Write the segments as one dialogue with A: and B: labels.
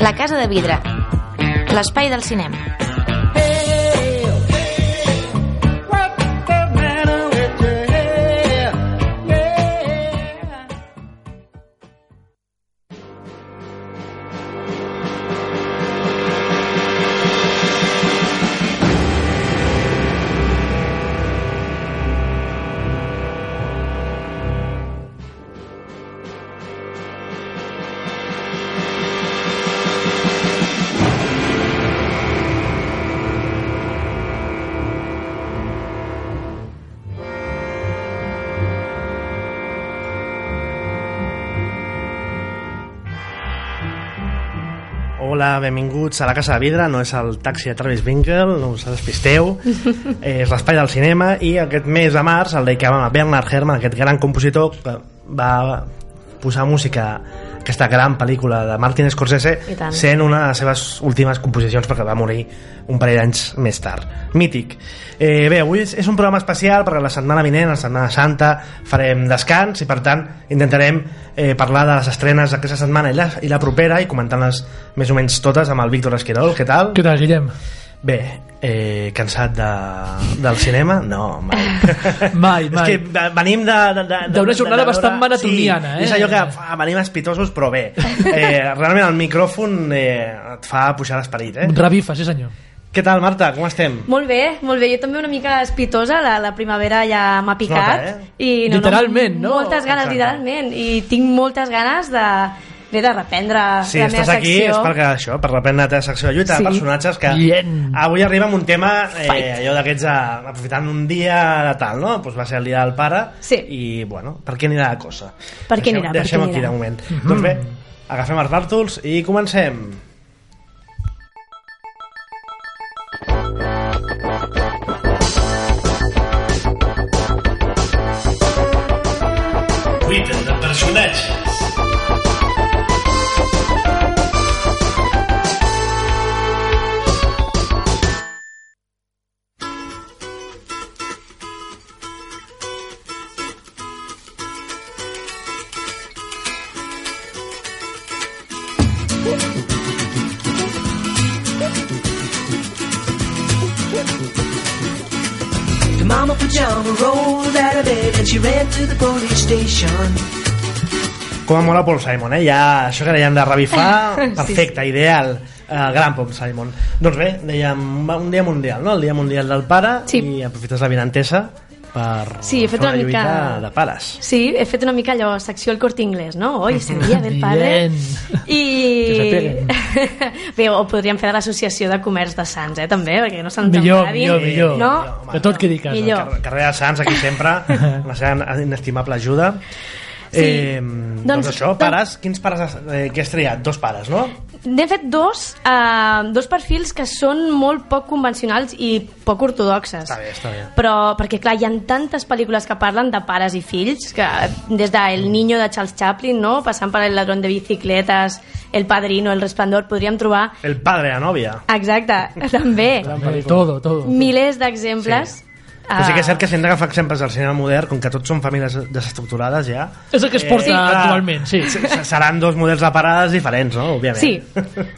A: La Casa de Vidre, l'espai del cinema.
B: Hola, benvinguts a la Casa de Vidre, no és el taxi de Travis Winkle, no us despisteu, eh, és l'espai del cinema i aquest mes de març el dedicàvem a Bernard Herrmann, aquest gran compositor que va posar música a aquesta gran pel·lícula de Martin Scorsese
C: I tant.
B: sent una de les seves últimes composicions perquè va morir un parell d'anys més tard. Mític. Eh, bé, avui és, és un programa especial perquè la setmana vinent, la setmana santa, farem descans i per tant intentarem eh, parlar de les estrenes d'aquesta setmana i la, i la propera i comentant-les més o menys totes amb el Víctor Esquirol. Què tal?
D: Què tal, Guillem?
B: Bé, eh, cansat de, del cinema? No, mai.
D: Mai, mai.
B: És que ve- venim de... de- de- de-
D: D'una
B: de-
D: jornada
B: de veure-
D: bastant maratoniana,
B: sí,
D: eh?
B: És allò que fa, venim espitosos, però bé. Eh, realment el micròfon eh, et fa pujar l'esperit, eh?
D: Revifa, sí senyor.
B: Què tal, Marta? Com estem?
C: Molt bé, molt bé. Jo també una mica espitosa, la, la primavera ja m'ha picat.
B: Es nota,
C: i
D: Literalment, no?
C: Moltes ganes,
B: Exacte.
C: literalment. I tinc moltes ganes de, bé, de reprendre
B: Si
C: la meva
B: estàs aquí
C: secció.
B: és perquè això, per reprendre la teva secció de lluita
C: Sí.
B: de personatges que
D: Bien.
B: avui arriba amb un tema eh, allò d'aquests eh, aprofitant un dia de tal, no? Pues va ser el dia del pare
C: Sí.
B: i bueno, per què anirà la cosa?
C: Per què
B: Deixem-
C: anirà, per
B: Deixem
C: què
B: aquí
C: anirà? Mhm.
B: de moment. Doncs bé, agafem els bàrtols i comencem. Lluita de personatges.
E: The mama pajama rolled out of bed and she ran to the police station.
B: Com mola Paul Simon, eh? Ja, això que dèiem de revifar, perfecte, ideal. El gran Paul Simon. Doncs bé, dèiem va, un dia mundial, no? El dia mundial del pare
C: Sí.
B: i aprofites la vinentesa per
C: Sí, he fet
B: fer
C: una mica-
B: lluita de pares.
C: Sí, he fet una mica allò, secció el corte inglès, no? Oi, sabia del padre.
D: Bien.
C: I...
D: Que se peguen.
C: Bé, o podríem fer de l'associació de comerç de Sants, eh, també, perquè no se'ns
D: Millor,
C: enfadin.
D: millor, millor.
C: No?
D: Que tot quedi a casa.
C: Millor.
B: Car carrer de Sants, aquí sempre, amb la seva inestimable ajuda.
C: Sí.
B: Eh, doncs,
C: Doncs-
B: doncs això,
C: doncs-
B: pares, quins pares has, eh, que has triat? Dos pares, no?
C: N'he fet dos, eh, dos perfils que són molt poc convencionals i poc ortodoxes.
B: Està bé, està bé.
C: Però, perquè clar, hi ha tantes pel·lícules que parlen de pares i fills, que des de El niño de Charles Chaplin, no? passant per El ladrón de bicicletes, El padrino, El resplandor, podríem trobar...
B: El padre a nòvia.
C: Exacte, també.
D: Eh, Todo, todo.
C: Milers d'exemples. Ah.
B: Sí. Però sí que és cert que s'han d'agafar exemples del cinema modern, com que tots són famílies desestructurades ja.
D: És el que es
B: Eh,
D: porta
B: clar,
D: actualment, sí.
B: se- Seran dos models de parades diferents, no? Òbviament.
C: Sí,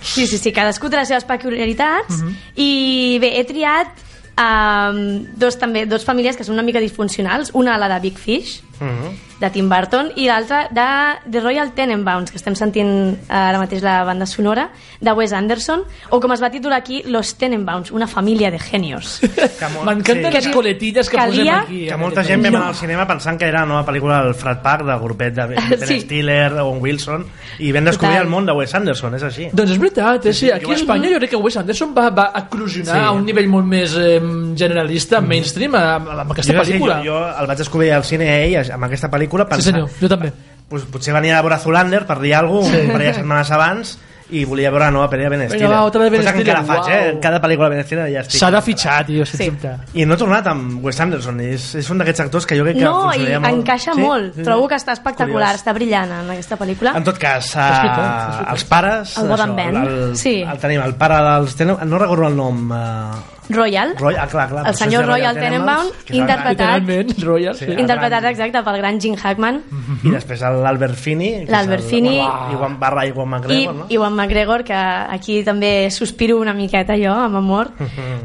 C: sí, sí, sí cadascú té les seves peculiaritats
B: Mhm.
C: i bé, he triat um, dos, també, dos famílies que són una mica disfuncionals, una la de Big Fish,
B: Mhm.
C: de Tim Burton, i l'altra de The Royal Tenenbaums, que estem sentint eh, ara mateix la banda sonora, de Wes Anderson, o com es va titular aquí, Los Tenenbaums, una família de genios.
B: Que molt-
D: M'encanten
B: sí,
D: les coletilles que
C: Calia-
D: posem aquí. eh,
B: que molta gent vam anar al cinema pensant que era la nova pel·lícula del Frat Pack, del grupet de Ben
C: Sí.
B: Stiller, Owen Wilson, i vam descobrir
C: Total.
B: el món de Wes Anderson, és així.
D: Doncs és veritat, eh? sí, aquí a Espanya jo crec que Wes Anderson va, va eclosionar
B: "Ah". Sí. Mm.
D: a un nivell molt més eh, generalista, mainstream, amb, amb aquesta
B: Jo no sé,
D: pel·lícula.
B: Jo, jo el vaig descobrir al cine ell amb aquesta
D: Sí
B: pel·lícula pensant, "Ah,
D: senyor, jo també.
B: pues, potser venia a veure Zulander per dir alguna cosa sí. un parell de setmanes abans i volia veure la nova pel·lícula de Ben Stiller.
D: va, otra de Ben
B: Cosa que encara
D: Stiller,
B: faig, eh?
D: uau.
B: Cada pel·lícula de Ben Stiller ja estic.
D: S'ha de fitxar, tio, sense
C: Sí.
D: sí. dubte.
B: I no ha tornat amb Wes Anderson, és, és un d'aquests actors que jo crec que
C: No, i
B: funcionaria molt.
C: encaixa
B: Sí,
C: molt.
B: sí,
C: Trobo
B: sí.
C: que està espectacular,
B: Curiós.
C: està brillant en aquesta pel·lícula.
B: En tot cas, eh,
D: És veritat, és veritat.
B: els pares...
C: El Bob and Ben.
B: El,
C: Sí.
B: el, tenim, el pare dels... Tenen, no recordo el nom... Eh,
C: Royal,
B: Roy, ah, clar, clar,
C: el
B: per això
C: senyor
B: és de
C: Royal Tenenbaum,
B: que és el-
C: interpretat-
D: Literalment, Royal.
B: Sí.
D: Sí.
C: interpretat exacte pel gran Jim Hackman
B: I després l'Albert Fini. que és
C: L'Albert
B: el-
C: Finney.
B: Bueno, Iwan barra Iwan
C: i
B: McGregor, no?
C: Iwan McGregor, que aquí també sospiro una miqueta jo, amb amor,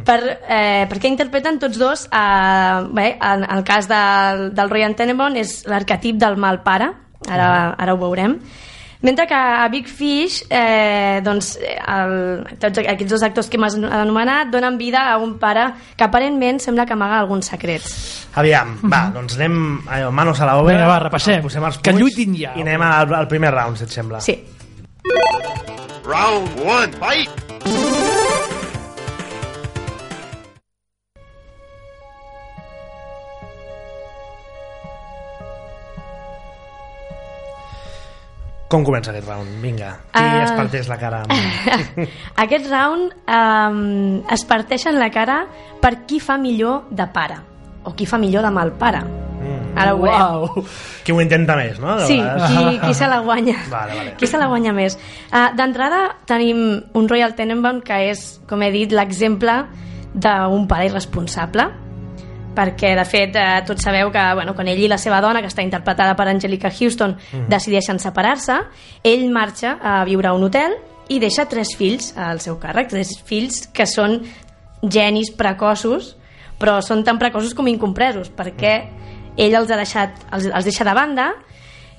C: per, eh, perquè interpreten tots dos, eh, bé, en, en el cas del, del Roy Tenenbaum és l'arquetip del mal pare, ara, ara ho veurem, Mentre que a Big Fish, eh, doncs, eh, el, tots aquests dos actors que m'has anomenat donen vida a un pare que aparentment sembla que amaga alguns secrets.
B: Aviam, va, doncs anem allò, manos a la obra.
D: Vinga, va, repassem.
B: Posem els
D: Que
B: punts
D: lluitin ja.
B: I anem al, al primer round, si et sembla.
C: Sí.
F: Round one, fight!
B: Com comença aquest round? Vinga. Qui
C: Ah.
B: es parteix la cara? amb-
C: Aquest round um, es parteixen la cara per qui fa millor de pare o qui fa millor de mal pare.
B: Mm.
C: Ara ho veurem.
D: Uau.
B: Qui ho intenta més, no? De
C: Sí,
B: vegades.
C: qui, qui se la guanya.
B: Vale, vale.
C: Qui se la guanya més. Uh, D'entrada tenim un Royal Tenenbaum que és, com he dit, l'exemple d'un pare irresponsable perquè de fet eh, tots sabeu que bueno, quan ell i la seva dona, que està interpretada per Angelica Houston,
B: Mhm.
C: decideixen separar-se ell marxa a viure a un hotel i deixa tres fills al seu càrrec tres fills que són genis precoços però són tan precoços com incompresos perquè
B: Mhm.
C: ell els, ha deixat, els, els deixa de banda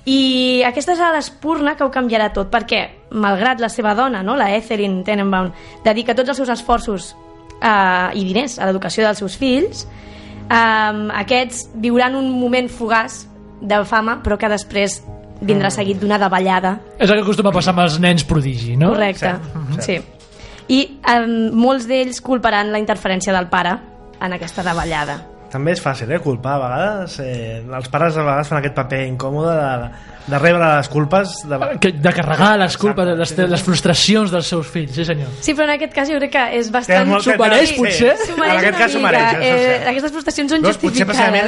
C: i aquesta serà l'espurna que ho canviarà tot perquè malgrat la seva dona, no, la Etherin Tenenbaum dedica tots els seus esforços eh, i diners a l'educació dels seus fills Um, aquests viuran un moment fugaç de fama, però que després
D: Mm.
C: vindrà seguit d'una davallada.
D: És el que acostuma a passar amb els nens prodigi, no?
C: Correcte.
D: Mm-hmm.
B: Cert,
C: Sí. I um, molts d'ells culparan la interferència del pare en aquesta davallada.
B: També és fàcil, eh, culpar a vegades. Eh, els pares a vegades fan aquest paper incòmode de, de rebre les culpes. De...
D: Que, de carregar les culpes, les, les frustracions dels seus fills, sí senyor.
C: Sí, però en aquest cas jo crec que és bastant...
B: molt-
D: S'ho mereix, potser?
B: Sí,
C: S'ho
B: en
C: mereix
B: aquest
C: una
B: cas s'ho
C: mica.
B: mereix. això és
C: eh,
B: cert.
C: aquestes frustracions són
B: Doncs potser precisament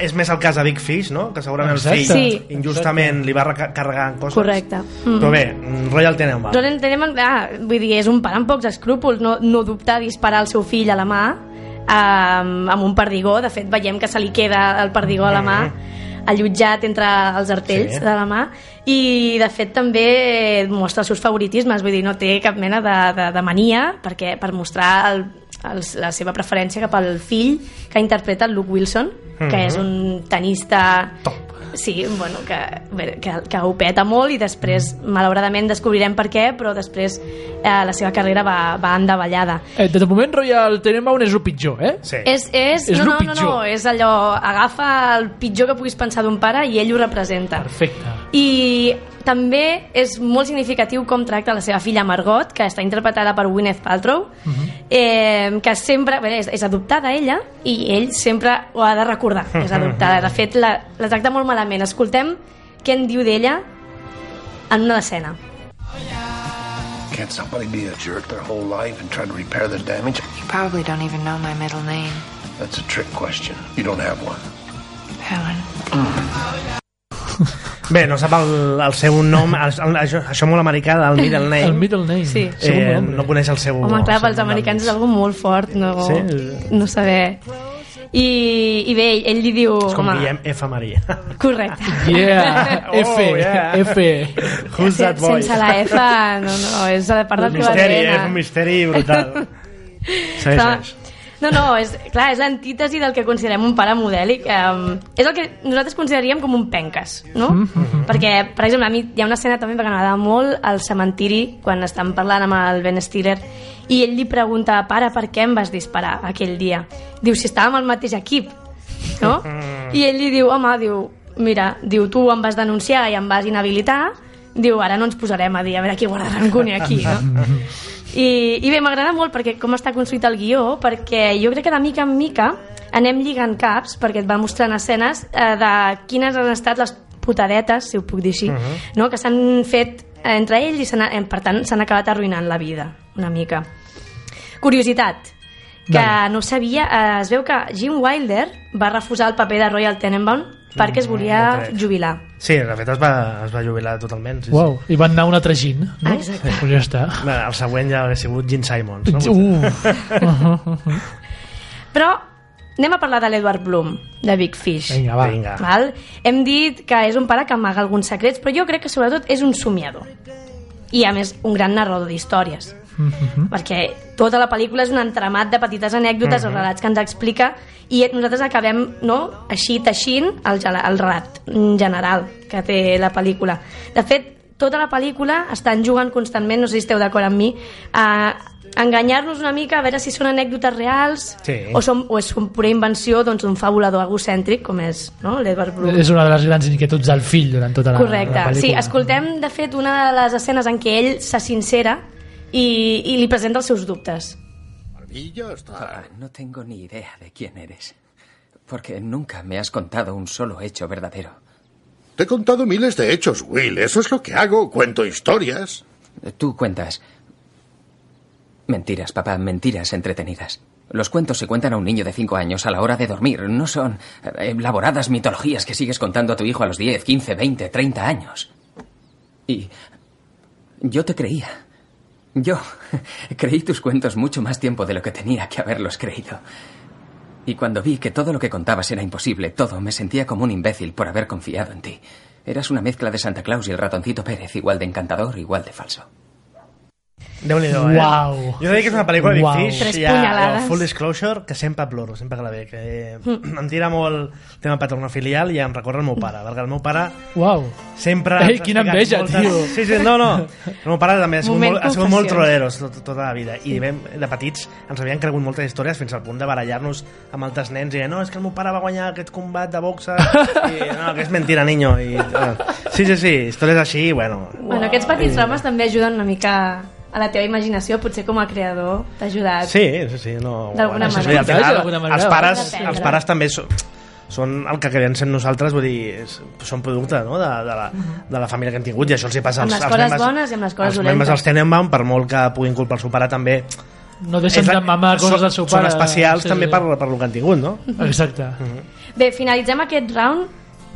B: és, és més el cas de Big Fish, no? que segurament el fill
D: Exacte.
C: Sí.
B: injustament li va reca- carregar coses.
C: Correcte. Mm.
B: Però bé, mm, Royal Tenenbaum.
C: Roland Tenenbaum, ah, vull dir, és un pare amb pocs escrúpols, no, no dubta a disparar el seu fill a la mà um, amb un perdigó, de fet veiem que se li queda el perdigó a la mà allotjat entre els artells
B: Eh. Sí.
C: de la mà i de fet també mostra els seus favoritismes, vull dir, no té cap mena de, de, de mania perquè per mostrar el, el, la seva preferència cap al fill que interpreta el Luke Wilson, que
B: Mhm.
C: és un tenista
B: Top.
C: Sí, bueno, que, bé, que, que ho peta molt i després,
D: Mhm.
C: malauradament, descobrirem per què, però després eh, la seva carrera va, va en davallada.
D: Eh, de moment, Royal Tenenbaum és el pitjor, eh?
B: Sí.
C: És, és,
D: És
C: no,
D: lo
C: no, no, no,
D: pitjor.
C: és allò, agafa el pitjor que puguis pensar d'un pare i ell ho representa.
D: Perfecte.
C: I també és molt significatiu com tracta la seva filla Margot, que està interpretada per Gwyneth Paltrow,
B: Mhm.
C: eh, que sempre... Bé, és, és adoptada ella, i ell sempre ho ha de recordar, que és adoptada. De fet, la, la tracta molt malament. Escoltem què en diu d'ella en una escena.
G: Can't somebody be a jerk their whole life and try to repair the damage?
H: You probably don't even know my middle name,
G: That's a trick question. You don't have one.
H: Helen.
B: Bé, no sap el, el seu nom, el, el, això, això molt americà del middle name.
D: El middle name.
C: Sí.
B: eh,
D: nom.
B: no coneix el seu...
C: Home, clar, pels
B: el seu nom
C: americans és
B: del mig.
C: algo molt fort, no,
B: Sí.
C: no saber... I, I bé, ell, ell li diu...
B: És com
C: home,
B: Guillem F. Maria.
C: Correcte.
D: Yeah,
B: Oh,
D: F,
B: yeah.
D: F.
B: Who's that boy?
C: Sense la F, no, no, és de part
B: Un
C: del teu
B: misteri,
C: ADN.
B: eh? és un misteri brutal. Segueix,
C: Clar.
B: segueix.
C: No, no, és, clar, és l'antítesi del que considerem un pare modèlic. Um, és el que nosaltres consideraríem com un penques, no?
B: Mhm.
C: Mm -hmm. Perquè, per exemple, a mi hi ha una escena també que m'agrada molt al cementiri, quan estan parlant amb el Ben Stiller, i ell li pregunta, pare, per què em vas disparar aquell dia? Diu, si estàvem al mateix equip, no?
B: Mm.
C: I ell li diu, home, diu, mira, diu, tu em vas denunciar i em vas inhabilitar, diu, ara no ens posarem a dir a veure qui guarda rancúnia aquí,
B: Mm.
C: no? I, i bé, m'agrada molt perquè com està construït el guió, perquè jo crec que de mica en mica anem lligant caps, perquè et va mostrant escenes eh, de quines han estat les putadetes, si ho puc dir així, no? que s'han fet eh, entre ells i s'han- eh, per tant s'han acabat arruïnant la vida, una mica. Curiositat, que
D: Vale.
C: no ho sabia, eh, es veu que Jim Wilder va refusar el paper de Royal Tenenbaum perquè es
B: no
C: volia
B: crec.
C: jubilar.
B: Sí, de fet es va, es va jubilar totalment. Sí,
D: Wow, i van anar un altre gin, no?
C: Ah, Exacte.
D: Pues ja està.
B: sí. Bé, El següent ja hauria sigut Gene Simons. No?
D: Uf.
C: Però anem a parlar de l'Edward Bloom, de Big Fish.
F: Vinga, va.
B: Vinga.
C: Val? Hem dit que és un pare que amaga alguns secrets, però jo crec que sobretot és un somiador. I a més, un gran narrador d'històries.
B: Mhm.
C: Perquè tota la pel·lícula és un entramat de petites anècdotes
B: Mhm.
C: o relats que ens explica i nosaltres acabem no, així teixint el, gela- el relat en general que té la pel·lícula. De fet, tota la pel·lícula estan jugant constantment, no sé si esteu d'acord amb mi, a enganyar-nos una mica a veure si són anècdotes reals
B: Sí.
C: o, som, o és un pura invenció doncs, d'un fabulador egocèntric com és no? l'Edward Brook.
F: És una de les grans inquietuds del fill durant tota la, la
C: Correcte, sí,
F: pel·lícula.
C: escoltem de fet una de les escenes en què ell se sincera i, i li presenta els seus dubtes.
I: Ah, no tengo ni idea de quién eres. Porque nunca me has contado un solo hecho verdadero.
J: Te he contado miles de hechos, Will. Eso es lo que hago. Cuento historias.
I: Tú cuentas. Mentiras, papá, mentiras entretenidas. Los cuentos se cuentan a un niño de cinco años a la hora de dormir. No son eh, elaboradas mitologías que sigues contando a tu hijo a los 10, 15, 20, 30 años. Y yo te creía. Yo creí tus cuentos mucho más tiempo de lo que tenía que haberlos creído. Y cuando vi que todo lo que contabas era imposible, todo, me sentía como un imbécil por haber confiado en ti. Eras una mezcla de Santa Claus y el ratoncito Pérez, igual de encantador, igual de falso.
B: déu nhi eh?
F: Uau.
B: Jo deia que és una pel·lícula de Big
F: Uau.
B: Fish,
C: Tres
B: ja,
C: punyalades. Mm.
B: ja, full disclosure, que sempre ploro, sempre que la veig. Eh, em tira molt el tema paternofilial i em recorre el meu pare, perquè el meu pare
F: Uau.
B: sempre...
F: Ei,
B: ens ha
F: quina
B: explicat
F: enveja, tio.
B: Sí, sí, no, no. El meu pare també ha sigut,
C: Moment
B: molt, ha sigut molt
C: confessions.
B: troleros tot, tota la vida. I vam, de petits ens havien cregut moltes històries fins al punt de barallar-nos amb altres nens i dir, no, és que el meu pare va guanyar aquest combat de boxa i no, que és mentira, niño. I, bueno, sí, sí, sí, històries així, bueno...
C: Bueno, aquests petits drames també ajuden una mica a la teva imaginació, potser com a creador t'ha ajudat.
B: Sí, sí, sí. No,
C: D'alguna
B: bueno,
C: manera.
B: al final,
D: D'alguna manera,
B: els,
D: ho
C: has
B: pares,
C: d'aprendre.
B: els pares també són, són el que acabem sent nosaltres, vull dir, és, són producte no? de, de, la, de la família que hem tingut i això els hi passa
C: Mhm.
B: als,
C: Amb les
B: als
C: coses
B: membres,
C: bones i amb les coses
B: els membres
C: dolentes.
B: dels Tenenbaum, per molt que puguin culpar el seu pare, també...
F: No deixen
B: és la-
F: de mamar coses
B: són,
F: del seu pare.
B: Són especials
F: Sí, sí,
B: també
F: sí.
B: Per, per lo que han tingut, no?
F: Exacte.
C: Bé, finalitzem aquest round.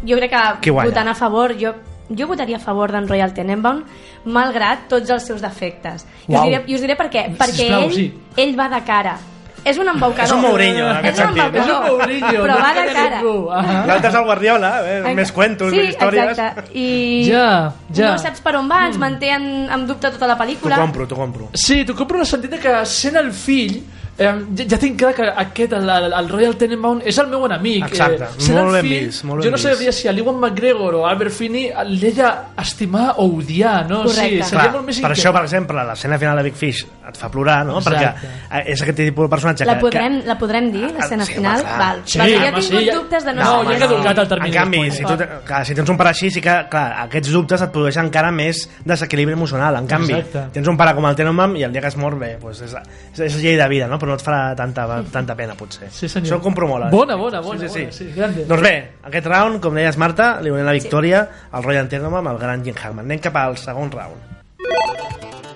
C: Jo crec
B: Qui
C: que
B: guanya?
C: votant a favor, jo, jo votaria a favor d'en Royal Tenenbaum, malgrat tots els seus defectes. I us
F: Uau.
C: diré, i us diré per què. Perquè
F: Sisplau,
C: ell,
F: sí.
C: ell va de cara. És un embaucador.
B: És un Mourinho, en aquest
C: És un
B: sentit.
C: embaucador,
D: És un Mourinho,
C: però
D: no
C: va
D: té
C: de cara.
D: ningú. Ah.
B: L'altre és el Guardiola, eh? més cuentos,
C: sí,
B: més històries...
C: Exacte. I
F: Ja, ja. Mm.
C: no saps per on va, ens manté en, en dubte tota la
B: T'ho
C: pel·lícula.
B: compro, t'ho compro.
D: Sí, t'ho compro en el sentit de que sent el fill eh, ja, ja tinc clar que aquest, el, el, el Royal Tenenbaum, és el meu enemic.
B: Exacte,
D: eh, sent
B: molt
D: el
B: ben
D: fill,
B: vist, molt ben
D: jo no
B: vist.
D: sabria si a l'Iwan McGregor o Albert Finney l'he d'estimar o odiar, no?
C: Correcte.
D: Sí, seria
B: Clar,
D: molt més
B: per
D: inquiet.
B: això, per exemple, l'escena final de Big Fish et fa plorar, no?
F: Exacte.
B: Perquè eh, és aquest tipus de personatge
C: La
B: que-
C: podrem,
B: que...
C: la podrem dir, l'escena
B: sí, home,
C: final?
B: clar.
C: Val.
F: Sí,
C: Val, jo he
F: home,
C: tingut
F: sí, ja-
C: dubtes de no,
D: No,
C: saber.
D: ja que ha caducat el termini.
B: En canvi,
D: Bueno,
B: si tu, clar, si tens un pare així, sí que clar, aquests dubtes et produeixen encara més desequilibri emocional. En canvi,
F: Exacte.
B: tens un pare com el Tenomam i el dia que es mor, bé, doncs és, és, és llei de vida, no? però no et farà tanta, tanta pena, potser.
F: Sí, senyor.
B: Això ho compro molt. eh?
D: Bona, bona, bona,
B: Sí, sí, sí.
D: bona, sí, grande.
B: Doncs bé, aquest round, com deies Marta, li donem la victòria al Royal Tenomam, al gran Jim Hackman. Anem cap al segon round.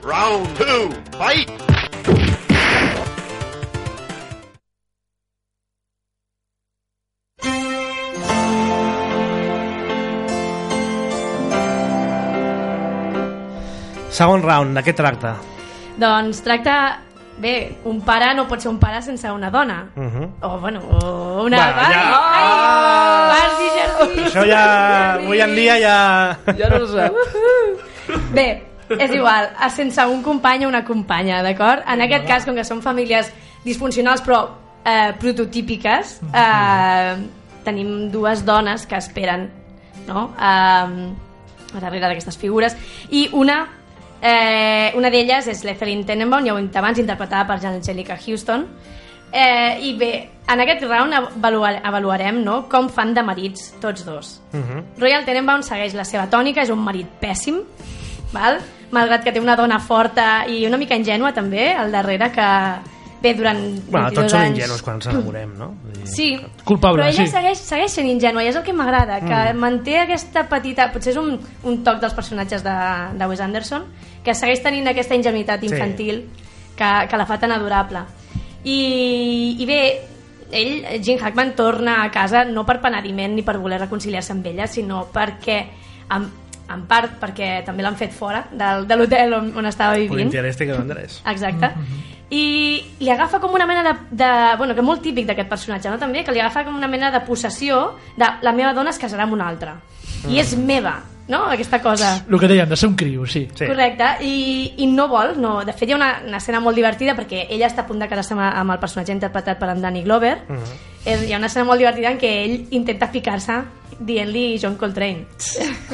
J: Round two. Fight.
B: Segon round, de què tracta?
C: Doncs tracta... Bé, un pare no pot ser un pare sense una dona.
B: Mhm.
C: O, bueno, o una...
B: Va,
C: Ai,
B: ja. Ah!
C: ai, Bardi, Jardí.
B: Això ja... Avui en dia ja...
D: Ja no eh, ho sap.
C: Bé, és igual, a sense un company o una companya, d'acord? En aquest cas, com que són famílies disfuncionals però eh, prototípiques,
B: Mhm.
C: eh, tenim dues dones que esperen no? eh, a darrere d'aquestes figures i una eh, una d'elles és l'Ethelyn Tenenbaum, ja ho hem dit abans, interpretada per Angelica Houston. Eh, I bé, en aquest round avaluar, avaluarem no? com fan de marits tots dos.
B: Mhm.
C: Royal Tenenbaum segueix la seva tònica, és un marit pèssim, val? malgrat que té una dona forta i una mica ingènua també, al darrere, que bé, durant 22
B: Bueno, tots
C: anys...
B: som ingenus quan ens enamorem, no? Vull dir-
C: Sí,
F: Culpable,
C: però ella
F: sí. Mm.
C: segueix, segueix sent ingenua i és el que m'agrada, que manté aquesta petita... Potser és un, un toc dels personatges de, de Wes Anderson, que segueix tenint aquesta ingenuïtat infantil que, que la fa tan adorable. I, I bé, ell, Gene Hackman, torna a casa no per penediment ni per voler reconciliar-se amb ella, sinó perquè... En, en part perquè també l'han fet fora del, de l'hotel on, on estava
B: Por
C: vivint.
B: interés te quedo Andrés.
C: Exacte. i li agafa com una mena de, de... Bueno, que és molt típic d'aquest personatge, no? També, que li agafa com una mena de possessió de la meva dona es casarà amb una altra. I és meva, no? Aquesta cosa.
F: El que dèiem, de ser un criu, sí.
C: Sí. Correcte, I, i no vol, no. de fet hi ha una, una escena molt divertida perquè ella està a punt de casar-se amb, amb el personatge interpretat per en Danny Glover mm -hmm. és, hi ha una escena molt divertida en què ell intenta ficar-se dient-li John Coltrane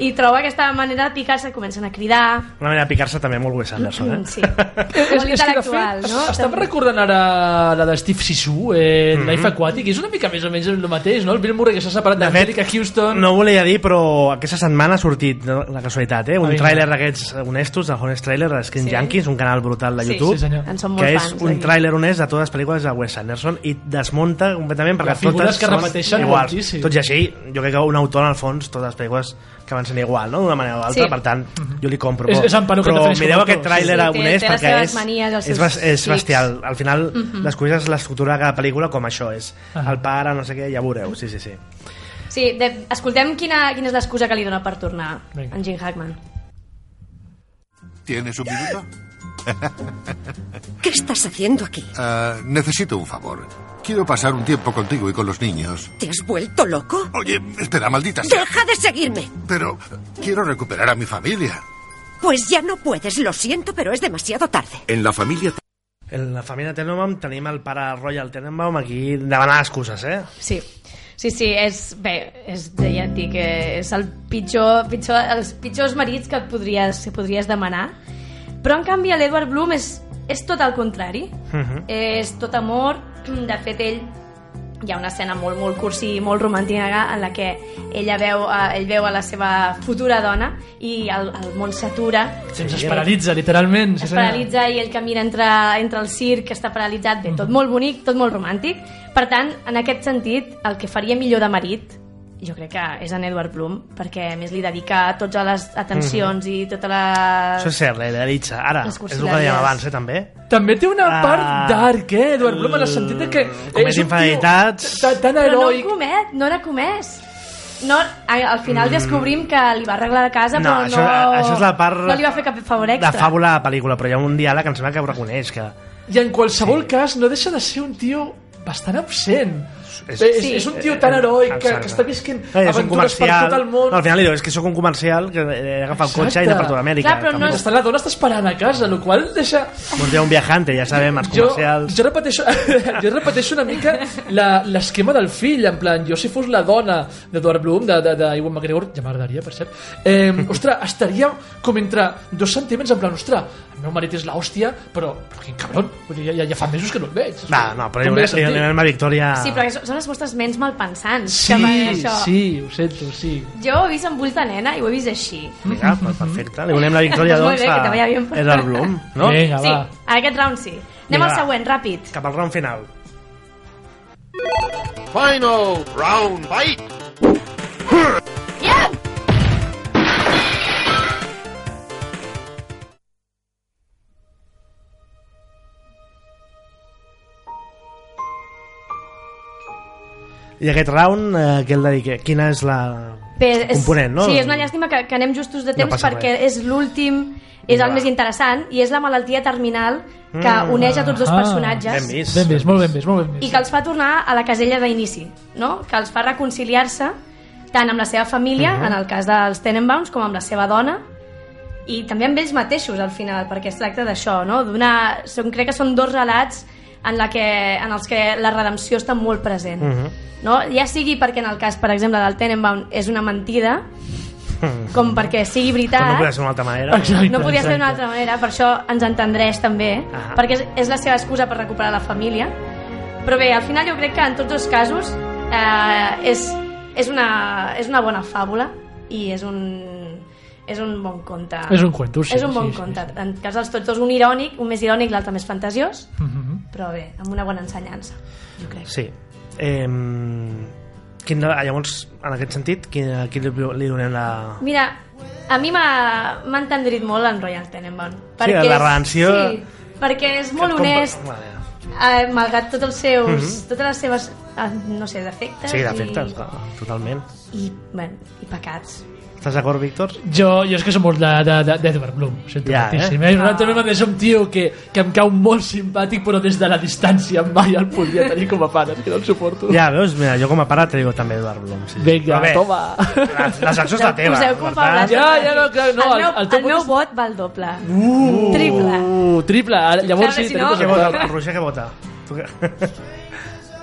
C: i troba aquesta manera de picar-se comencen a cridar
B: Una manera de picar-se també molt Wes Anderson, eh?
C: Mm, sí. molt intel·lectual no?
D: Estava recordant ara la de Steve Sisu, eh,
B: Mhm.
D: mm -hmm. Life Aquatic, i és una mica més o menys el mateix, no? El Bill Murray que s'ha separat d'Angelica Houston...
B: No ho volia dir, però aquesta setmana ha sortit, no, la casualitat, eh? un
D: Ai, no.
B: tràiler d'aquests honestos, el Honest Trailer de Skin
C: Sí.
B: Junkies, un canal brutal de
C: Sí,
B: YouTube,
F: sí, senyor.
C: En som molt
B: que és
C: fans, eh?
B: un
C: d'aquí.
B: tràiler honest de totes les pel·lícules de Wes Anderson i desmunta completament perquè
D: Les figures
B: totes
D: que
B: són
D: repeteixen
B: iguals.
D: moltíssim.
B: Tot i així, jo crec que un autor, en el fons, totes les pel·lícules que van ser igual, no? d'una manera o altra,
C: Sí.
B: per tant, jo li compro.
F: Mhm. És-
B: Però-
F: és en Panu que
B: però
F: prefereix
B: mireu
F: com a
B: aquest
F: autor, sí,
B: tràiler
C: sí. Té-
B: honest
C: té les
B: perquè
C: seves
B: és,
C: manies, els
B: és,
C: seus Mhm.
B: bas- és
C: tics.
B: bestial. Al final, descobreixes l'estructura de cada pel·lícula com això és.
F: Ah.
B: El pare, no sé què, ja veureu. Sí, sí, sí.
C: sí, de, escoltem quina, quina és l'excusa que li dona per tornar
F: Vinga.
C: en Jim Hackman
G: ¿Tienes un minuto?
K: ¿Qué estás haciendo aquí?
G: Ah, necesito un favor. Quiero pasar un tiempo contigo y con los niños.
K: ¿Te has vuelto loco?
G: Oye, espera, maldita sea.
K: ¡Deja de seguirme!
G: Pero quiero recuperar a mi familia.
K: Pues ya no puedes, lo siento, pero es demasiado tarde.
J: En la familia
B: En la família Tenenbaum tenim el pare Royal Tenenbaum aquí demanant excuses, eh?
C: Sí, sí, sí, és, bé, és, ja et dic, eh, és el pitjor, pitjor, els pitjors marits que et podries, que podries demanar. Però, en canvi, l'Edward Bloom és, és tot el contrari.
B: Mhm.
C: És tot amor. De fet, ell hi ha una escena molt, molt cursi i molt romàntica en la que ella veu, eh, ell veu a la seva futura dona i el, el món s'atura
F: Se'ns es
B: eh.
F: paralitza, literalment. sí,
C: es
F: senyor.
C: paralitza i ell camina entre, entre el circ que està paralitzat, bé, tot molt bonic, tot molt romàntic. Per tant, en aquest sentit, el que faria millor de marit, jo crec que és en Edward Bloom, perquè a més li dedica totes les atencions i tota la...
B: Això és cert, eh? L'Elitza. Ara, és
C: Les
B: el que dèiem
C: cursilàries.
B: abans, eh, també.
D: També té una
B: Ah, Mm,
D: part dark, eh, Eduard Blum, en el sentit de que...
B: Comet
D: és un tio
B: infidelitats.
D: ta- Tan
C: Però no
D: heroic...
C: comet, no n'ha comès. No, a- al final descobrim que li va arreglar la casa,
B: Mm. No,
C: però
B: això- eh,
C: no...
B: això és la part-
C: No li va fer cap favor
B: De
C: extra.
B: fàbula a pel·lícula, però hi ha un diàleg que em sembla que ho reconeix, que
D: I en qualsevol cas no deixa de ser un tio bastant absent. És,
B: És-
D: és,
C: Sí.
D: és un
B: eh,
D: tio tan heroic que,
B: Exacte.
D: que està visquent
B: Eh, és un
D: aventures per
B: comercial.
D: tot el món.
B: No, al final li diu, és que sóc un comercial que eh, agafa el
D: Exacte.
B: cotxe i anar per tota Amèrica.
C: Clar, però no
B: Tampoc.
C: és-
D: Està, la dona està esperant a casa, el qual deixa...
B: Doncs hi ha un viajante, ja sabem, els
D: Jo,
B: comercials...
D: jo, repeteixo, jo repeteixo una mica la- l'esquema del fill, en plan, jo si fos la dona d'Edward Bloom, de, de, de Iwan McGregor, ja m'agradaria, per cert, eh, ostres, estaria com entre dos sentiments, en plan, ostres, el meu marit és l'hòstia, però, però quin cabron, vull dir, ja, ja, ja fa mesos que no el veig.
B: No, no, però hi
D: Com
B: ha una,
D: ve a
B: hi ha
D: sentir?
B: una victòria...
C: Sí, però són les vostres ments malpensants.
D: Sí,
C: que van això.
D: sí, ho sento, sí.
C: Jo ho he vist amb ulls de nena i ho he vist així.
B: Vinga, pues perfecte. Li donem la victòria,
C: Molt
B: doncs,
C: bé, que te vaya
B: a
C: bien.
B: Edward Bloom, no?
F: Vinga,
C: sí,
F: va.
C: en aquest round sí. Anem
B: Vinga,
C: al
B: va.
C: següent, ràpid.
B: Cap al round final.
J: Final round fight.
B: I aquest round, eh, què el dediqué? Quina és la...
C: Bé,
B: Component, no?
C: Sí, és una llàstima que, que anem justos de
B: No
C: temps
B: passa
C: perquè
B: res.
C: és l'últim, és el
B: Va.
C: més interessant i és la malaltia terminal que
B: Mm. Eh,
C: uneix a tots dos
F: Ah,
B: Ben
C: personatges
B: vist.
F: Ben vist, molt ben vist, molt ben
C: i
F: vist.
C: que els fa tornar a la casella d'inici, no? que els fa reconciliar-se tant amb la seva família, en el cas dels Tenenbaums, com amb la seva dona, i també amb ells mateixos al final, perquè es tracta d'això, no? D'una... Són, crec que són dos relats en, la que, en els que la redempció està molt present. no? Ja sigui perquè en el cas, per exemple, del Tenenbaum és una mentida, com perquè sigui veritat...
B: Com no podia ser d'una altra manera.
F: Exacte,
C: No podia ser d'una
F: exacte.
C: altra manera, per això ens entendreix també,
B: Ah.
C: perquè és, és la seva excusa per recuperar la família. Però bé, al final jo crec que en tots dos casos eh, és, és, una, és una bona fàbula i és un, és un bon conte.
F: És un cuento, sí,
C: És un bon
F: sí, sí,
C: conte.
F: sí.
C: En cas dels tots dos, un irònic, un més irònic, l'altre més fantasiós,
F: Mhm.
C: però bé, amb una bona ensenyança, jo crec.
B: Sí. Eh, quin, llavors, en aquest sentit, quin, a qui li, li donem la...
C: Mira, a mi m'ha m'ha entendrit molt en Royal Tenenbaum.
B: la
C: és-
B: relació-
C: Sí, perquè és molt
B: Com-
C: honest,
B: Vale.
C: eh, malgrat tots els seus, mm -hmm. totes les seves ah, no sé,
B: Mhm.
C: defectes.
B: Sí,
C: i-
B: d'efectes, clar, totalment.
C: I, bueno, i pecats.
B: Estàs d'acord, Víctor?
F: Jo, jo és que som molt de, de, de, d'Edward Bloom, ho sento
B: Ja,
F: ja,
B: eh?
F: moltíssim. Eh? Ah. També és un tio que, que em cau molt simpàtic, però des de la distància mai el podria tenir com a pare, és que no el suporto.
B: Ja, veus? Mira, jo com a pare te digo també Eduard Blum. Sí.
F: Vinga,
B: Però bé,
F: toma.
B: La, la secció és la teva.
C: Poseu
B: per tant.
C: culpables.
F: Ja, ja, no, clar, no,
C: el, meu,
F: el- el
C: el,
F: teu
C: meu vot val doble.
F: Uh,
C: Triple.
F: Uh, triple. Ara, Llavors
C: Clar, si
F: sí, tenim
C: no-
B: Què
F: cosa
B: vota?
F: per-
B: El Roger què vota? Tu què-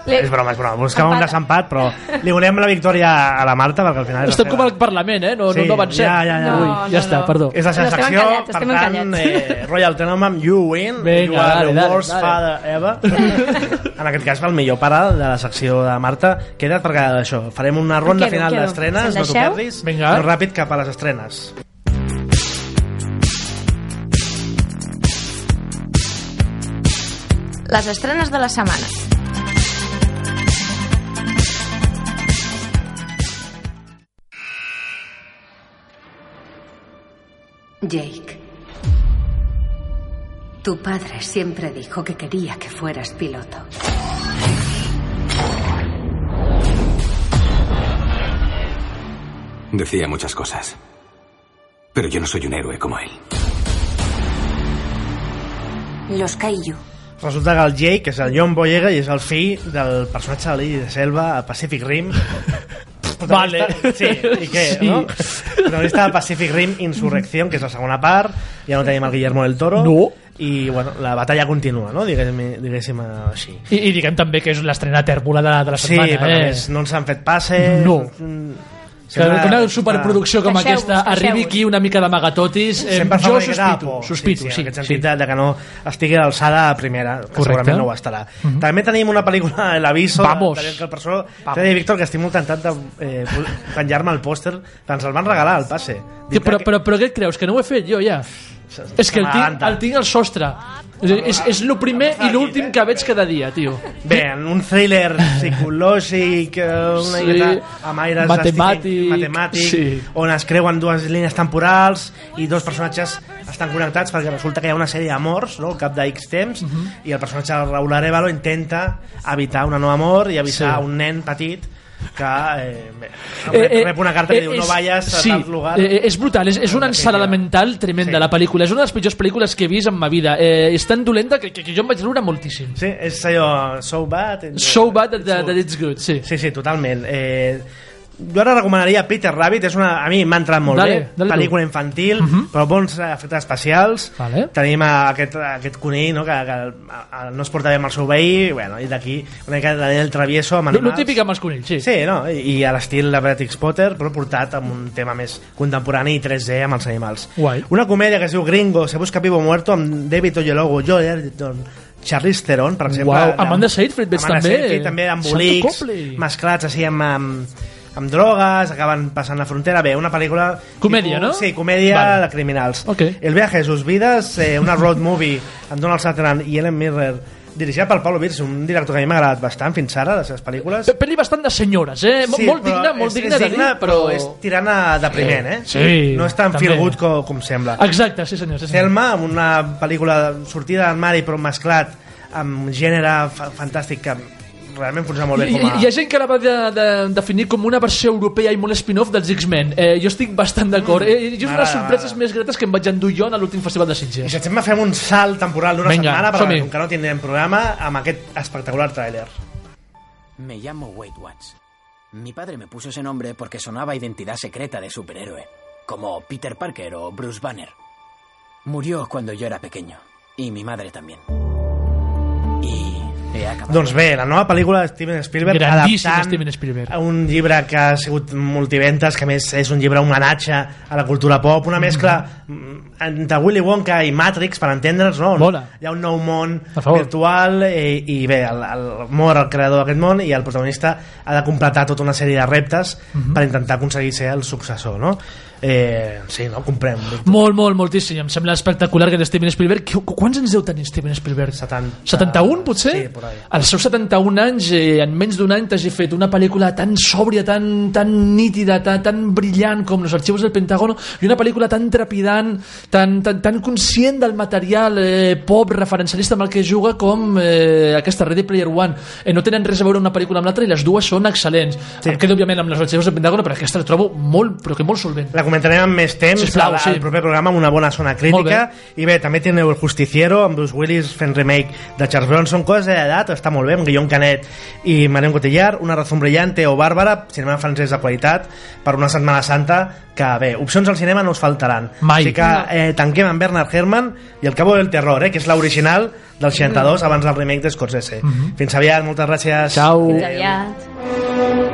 C: Le-
B: És broma, és broma. Buscava un
C: Empat.
B: desempat, però li volem la victòria a la Marta, perquè al final és la
F: Estem
B: seva.
F: com al Parlament, eh? No,
B: Sí,
F: no, no avancem.
B: ja, ja, ja.
F: Ui,
C: No,
F: ja
C: no,
F: està,
C: no.
F: perdó.
B: És la seva
C: No, estem
B: secció,
C: encallats,
B: per
C: estem
B: tant,
C: encallats.
B: eh, Royal Tenenbaum, you win,
F: Vinga,
B: you are
F: dale,
B: the
F: dale,
B: worst
F: dale.
B: father ever. en aquest cas, el millor pare de la secció de Marta. Queda't perquè això, farem una ronda
C: Quedo,
B: final
C: quedo.
B: d'estrenes, no
C: Si em
B: t'ho
C: deixeu?
B: perdis.
F: Vinga.
B: Anem ràpid cap a les estrenes.
A: Les estrenes de la setmana.
K: Jake, tu padre siempre dijo que quería que fueras piloto.
L: Decía muchas cosas. Pero yo no soy un héroe como él.
K: Los Kaiju.
B: Resulta que el Jake és el John Boyega i és el fill del personatge de l'Illa de Selva a Pacific Rim. Protagonista-
F: Vale.
B: Sí, i què,
F: Sí.
B: no? Protagonista de Pacific Rim Insurrección, que és la segona part. Ja no tenim el Guillermo del Toro.
F: No.
B: I, bueno, la batalla continua, no? Diguéssim, diguéssim eh, així.
F: I, I diguem també que és l'estrena tèrbola de la, de la
B: Sí,
F: setmana,
B: perquè a
F: eh?
B: més no ens han fet passes.
F: No.
B: Mm,
F: Que
B: sembla-
F: una superproducció com
C: Deixeu-vos,
F: aquesta arribi
C: deixeu-vos.
F: aquí una mica d'amagatotis, eh,
B: Sempre fa
F: jo
B: una miqueta de
F: sospito,
B: por.
F: sospito, sí,
B: en aquest
F: sí,
B: sentit de- de que no estigui a l'alçada a primera, que
F: Correcte. Mhm.
B: segurament no ho estarà. També tenim una pel·lícula, El aviso,
F: Vamos.
B: de Daniel Calpersolo.
F: Vamos.
B: T'he de dir, Víctor, que estic molt tentat de eh, penjar-me el pòster, que ens el van regalar, el passe.
F: Tio, però, però, però què et creus? Que no ho he fet jo ja? És que el tinc,
B: m'agrada.
F: el tinc al sostre. És, és, és el primer i l'últim
B: eh?
F: que veig cada dia, tio.
B: Bé, en un thriller psicològic, eh, una
F: Sí.
B: miqueta amb aires
F: Matemàtic,
B: de Stephen- matemàtic
F: sí.
B: on es creuen dues línies temporals i dos personatges estan connectats perquè resulta que hi ha una sèrie d'amors no? al cap de X temps
F: Mhm.
B: i el personatge de Raúl Arevalo intenta evitar una nova amor i avisar
F: Sí.
B: a un nen petit que eh, bé, rep, rep una carta que diu no
F: eh, és-
B: vayas a
F: sí,
B: tal lugar
F: Eh, és brutal, és, és una ensalada mental tremenda,
B: Sí.
F: la pel·lícula. És una de les pitjors pel·lícules que he vist en ma vida. Eh, és tan dolenta que, que, que jo em vaig riure moltíssim.
B: Sí, és allò so bad and-
F: So bad that, that that it's good, sí.
B: Sí, sí, totalment. Eh, jo ara recomanaria Peter Rabbit, és una, a mi m'ha entrat molt
F: Dale,
B: bé,
F: dale tu.
B: pel·lícula infantil, però bons eh, efectes especials.
F: Vale.
B: Tenim a aquest, a aquest conill no, que, que a- a- no es porta bé amb el seu veí, bueno, i d'aquí una mica de Daniel Travieso amb
F: Lo, lo
B: animals.
F: típic amb els conills, sí.
B: Sí, no? I, i a l'estil de Brett X. Potter, però portat amb un tema més contemporani i 3D amb els animals.
F: Guai.
B: Una comèdia que es diu Gringo, se busca vivo muerto, amb David Oyelowo, Joe Edgerton, Charlize Theron, per exemple.
F: Uau, Amanda Seyfried, veig
B: Amanda
F: també.
B: Seyfried, també amb
F: Santo
B: bolics,
F: Copley.
B: mesclats així amb, amb, amb drogues, acaben passant la frontera. Bé, una pel·lícula...
F: Comèdia, no?
B: Sí, comèdia
F: Vale.
B: de criminals.
F: Ok.
B: El viaje de sus vidas, eh, una road movie amb Donald Sutherland i Ellen Mirrer, dirigida per Paulo Birch, un director que a mi m'ha agradat bastant fins ara, les seves pel·lícules.
F: Pe- Pel·li bastant de senyores, eh? Sí, molt
B: però
F: digna, molt
B: és,
F: digna
B: és
F: de
B: digna,
F: dir, però...
B: és tirant a depriment, eh?
F: Sí,
B: no és tan
F: també.
B: feel good com, com sembla.
F: Exacte, sí senyor. Sí, senyor.
B: Selma, una pel·lícula sortida del mari però mesclat amb un gènere fa fantàstic que realment funciona molt bé
F: Hi,
B: com a...
F: hi- hi ha gent que la va de, de, definir com una versió europea i molt spin-off dels X-Men. Eh, jo estic bastant d'acord. Eh,
B: Mm.
F: jo és una de les
B: M'agrada,
F: sorpreses
B: m'agrada.
F: més gretes que em vaig endur jo en l'últim festival de
B: I
F: Sitges.
B: si et sembla fem un salt temporal d'una
F: Vinga,
B: setmana perquè
F: som-hi.
B: com que no tindrem programa amb aquest espectacular tràiler.
M: Me llamo Weight Watch. Mi padre me puso ese nombre porque sonaba a identidad secreta de superhéroe, como Peter Parker o Bruce Banner. Murió cuando yo era pequeño, y mi madre también. Y he acabado.
B: Doncs bé, la nova pel·lícula de Steven Spielberg
F: Grandíssim
B: adaptant
F: Steven Spielberg.
B: a un llibre que ha sigut multiventes, que a més és un llibre homenatge a la cultura pop, una mescla mm, entre Willy Wonka i Matrix, per entendre'ns, no?
F: Mola.
B: Hi ha un nou món
F: A favor.
B: virtual eh, i bé, el, el mor el creador d'aquest món i el
F: Mm-hmm.
B: protagonista ha de completar tota una sèrie de reptes per intentar aconseguir ser el successor, no? eh, sí, no? Comprem.
F: Molt, molt, moltíssim. Em sembla espectacular que Steven Spielberg... Qu- Quants anys deu tenir Steven Spielberg?
B: 70.
F: 71, potser?
B: Sí, por ahí.
F: Als seus 71 anys, eh, en menys d'un any, t'hagi fet una pel·lícula tan sòbria, tan, tan nítida, tan, tan brillant com Los Archivos del Pentágono, i una pel·lícula tan trepidant, tan, tan, tan conscient del material eh, pop referencialista amb el que juga com eh, aquesta Ready Player One. Eh, no tenen res a veure una pel·lícula amb l'altra i les dues són excel·lents. Sí. Em quedo, òbviament, amb Los Archivos del Pentágono, però aquesta la trobo molt, però que molt solvent.
B: La comentarem amb més temps
F: Sisplau,
B: al,
F: sí.
B: al proper programa amb una bona zona crítica i bé, també teniu El Justiciero amb Bruce Willis fent remake de Charles Bronson coses d'edat, està molt bé, amb Guillaume Canet i Marion Cotillard, Una razón brillante o Bàrbara, cinema francès de qualitat per una setmana santa que bé, opcions al cinema no us faltaran
F: Mai.
B: així que eh, tanquem amb Bernard Herrmann i El cabo del terror, eh, que és l'original del 62 abans del remake de Scorsese
F: Mhm.
B: fins aviat, moltes gràcies
F: Ciao.
C: Fins aviat.